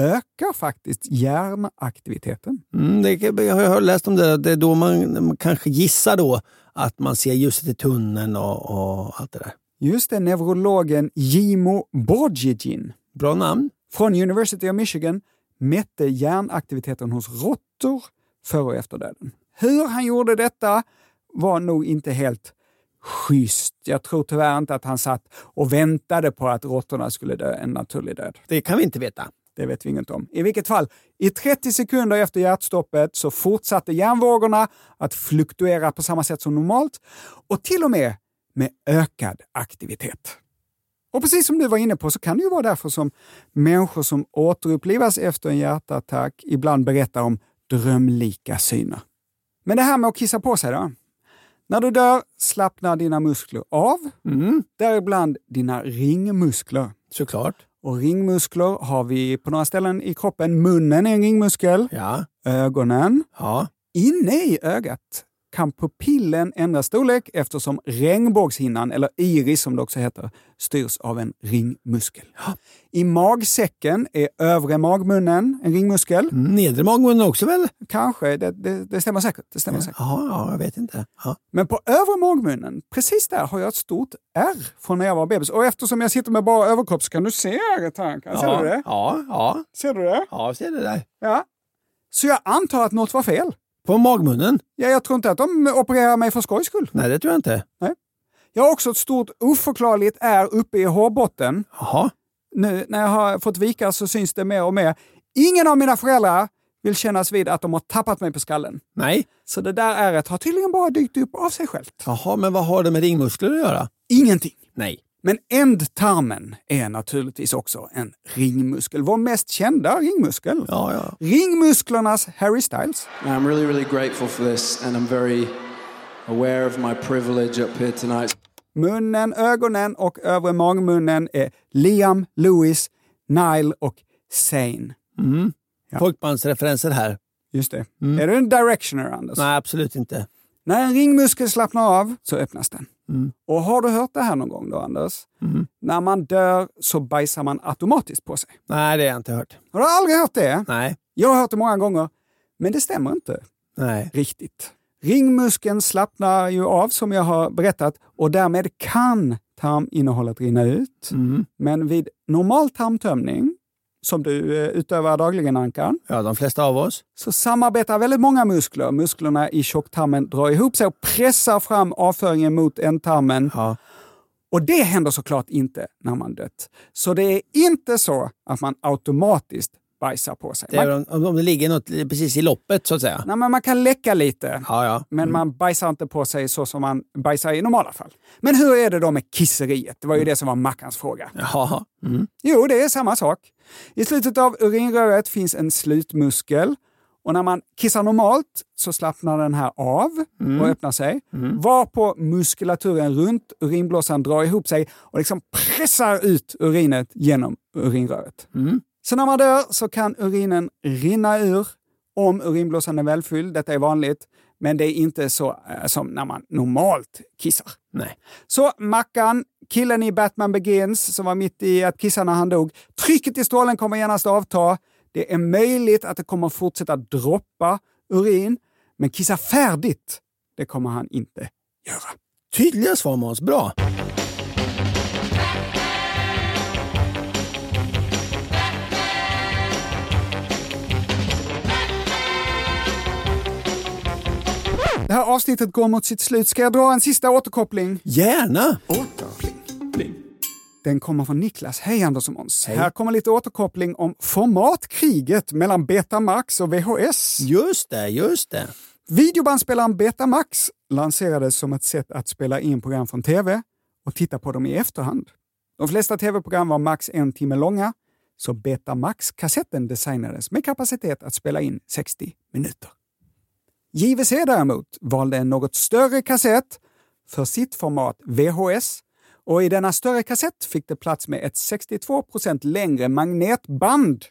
B: ökar faktiskt hjärnaktiviteten.
A: Mm, det, jag har läst om det, att det är då man, man kanske gissar då att man ser ljuset i tunneln och, och allt det där.
B: Just det, neurologen Jimo Borgigin
A: Bra namn.
B: från University of Michigan mätte hjärnaktiviteten hos råttor före och efter döden. Hur han gjorde detta var nog inte helt schysst. Jag tror tyvärr inte att han satt och väntade på att råttorna skulle dö en naturlig död.
A: Det kan vi inte veta.
B: Det vet vi inget om. I vilket fall, i 30 sekunder efter hjärtstoppet så fortsatte hjärnvågorna att fluktuera på samma sätt som normalt och till och med med ökad aktivitet. Och precis som du var inne på så kan det ju vara därför som människor som återupplivas efter en hjärtattack ibland berättar om drömlika syner. Men det här med att kissa på sig då? När du dör slappnar dina muskler av, däribland dina ringmuskler.
A: Såklart.
B: Och ringmuskler har vi på några ställen i kroppen. Munnen är en ringmuskel. Ögonen. Inne i ögat kan pupillen ändra storlek eftersom regnbågshinnan, eller iris som det också heter, styrs av en ringmuskel. I magsäcken är övre magmunnen en ringmuskel.
A: Nedre magmunnen också väl?
B: Kanske, det, det, det stämmer säkert. Det stämmer säkert.
A: Ja, ja, jag vet inte. Ja.
B: Men på övre magmunnen, precis där har jag ett stort R från när jag var bebis. Och eftersom jag sitter med bara överkropp så kan du se ärret här. Kan- Ser
A: ja,
B: du det?
A: Ja, ja.
B: Ser du det?
A: Ja, jag ser det där.
B: Ja. Så jag antar att något var fel.
A: På magmunnen?
B: Ja, jag tror inte att de opererar mig för skojs skull.
A: Nej, det tror jag inte.
B: Jag har också ett stort oförklarligt ärr uppe i hårbotten.
A: Jaha.
B: Nu när jag har fått vika så syns det mer och mer. Ingen av mina föräldrar vill kännas vid att de har tappat mig på skallen.
A: Nej.
B: Så det där ärret har tydligen bara dykt upp av sig självt.
A: Jaha, men vad har det med ringmuskler att göra?
B: Ingenting.
A: Nej.
B: Men ändtarmen är naturligtvis också en ringmuskel. Vår mest kända ringmuskel.
A: Ja, ja.
B: Ringmusklernas Harry Styles.
N: And I'm really, really grateful for this, and I'm very aware of my privilege up here tonight.
B: Munnen, ögonen och övre magmunnen är Liam, Louis, Nile och Zane.
A: Mm. Folkbandsreferenser här.
B: Just det. Är du en directioner, Anders?
A: Nej, absolut inte.
B: När en ringmuskel slappnar av så öppnas den. Och har du hört det här någon gång då, Anders? När man dör så bajsar man automatiskt på sig.
A: Nej, det har jag inte hört.
B: Har du aldrig hört det?
A: Nej.
B: Jag har hört det många gånger, men det stämmer inte
A: Nej.
B: riktigt. Ringmuskeln slappnar ju av som jag har berättat och därmed kan tarminnehållet rinna ut.
A: Mm.
B: Men vid normal tarmtömning, som du eh, utövar dagligen Ankan,
A: Ja, de flesta av oss.
B: så samarbetar väldigt många muskler. Musklerna i tjocktarmen drar ihop sig och pressar fram avföringen mot ändtarmen. Och det händer såklart inte när man dött. Så det är inte så att man automatiskt bajsar på sig.
A: Det
B: Man
A: är om, om det ligger något li- precis i loppet så att säga.
B: Nej, men man kan läcka lite.
A: Ja, ja.
B: Men man bajsar inte på sig så som man bajsar i normala fall. Men hur är det då med kisseriet? Det var ju det som var Mackans fråga.
A: Jaha. Mm.
B: Jo, det är samma sak. I slutet av urinröret finns en slutmuskel och när man kissar normalt så slappnar den här av och öppnar sig. Varpå muskulaturen runt urinblåsan drar ihop sig och liksom pressar ut urinet genom urinröret. Så när man dör så kan urinen rinna ur om urinblåsan är välfylld. Detta är vanligt, men det är inte så eh, som när man normalt kissar.
A: Nej.
B: Så Mackan, killen i Batman Begins som var mitt i att kissa när han dog. Trycket i strålen kommer genast avta. Det är möjligt att det kommer fortsätta droppa urin, men kissa färdigt, det kommer han inte göra.
A: Tydliga svar Måns, bra.
B: Det här avsnittet går mot sitt slut. Ska jag dra en sista återkoppling?
A: Gärna!
B: Den kommer från Niklas. Hej Anders och Måns. Här kommer lite återkoppling om formatkriget mellan Betamax och VHS.
A: Just det, just det.
B: Videobandspelaren Betamax lanserades som ett sätt att spela in program från tv och titta på dem i efterhand. De flesta tv-program var max en timme långa, så Betamax-kassetten designades med kapacitet att spela in 60 minuter. JVC däremot valde en något större kassett för sitt format VHS och i denna större kassett fick det plats med ett 62 längre magnetband.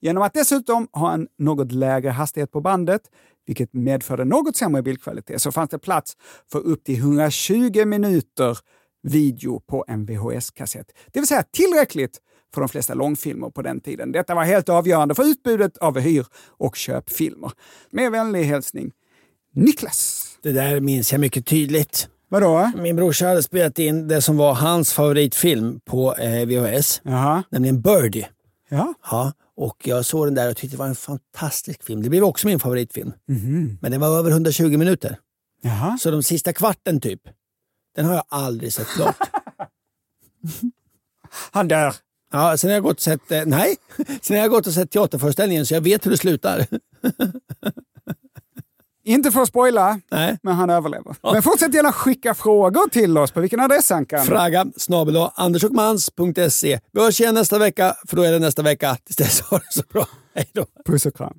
B: Genom att dessutom ha en något lägre hastighet på bandet, vilket medförde något sämre bildkvalitet, så fanns det plats för upp till 120 minuter video på en VHS-kassett. Det vill säga tillräckligt för de flesta långfilmer på den tiden. Detta var helt avgörande för utbudet av hyr och köpfilmer. Med vänlig hälsning, Niklas.
A: Det där minns jag mycket tydligt.
B: Vadå?
A: Min brorsa hade spelat in det som var hans favoritfilm på eh, VHS,
B: Jaha.
A: nämligen Birdie.
B: Ja.
A: Ja, och jag såg den där och tyckte det var en fantastisk film. Det blev också min favoritfilm. Men den var över 120 minuter.
B: Jaha.
A: Så de sista kvarten typ, den har jag aldrig sett klart.
B: Han dör.
A: Ja, sen har jag gått och sett, eh, nej, sen har jag gått och sett teaterföreställningen så jag vet hur det slutar.
B: Inte för att spoila,
A: Nej.
B: men han överlever. Men fortsätt gärna skicka frågor till oss. På vilken adress Ankan?
A: Fraga snabel andersochmans.se. E. Vi hörs igen nästa vecka, för då är det nästa vecka. Tills dess, ha det så bra. Hej då.
B: Puss och kram.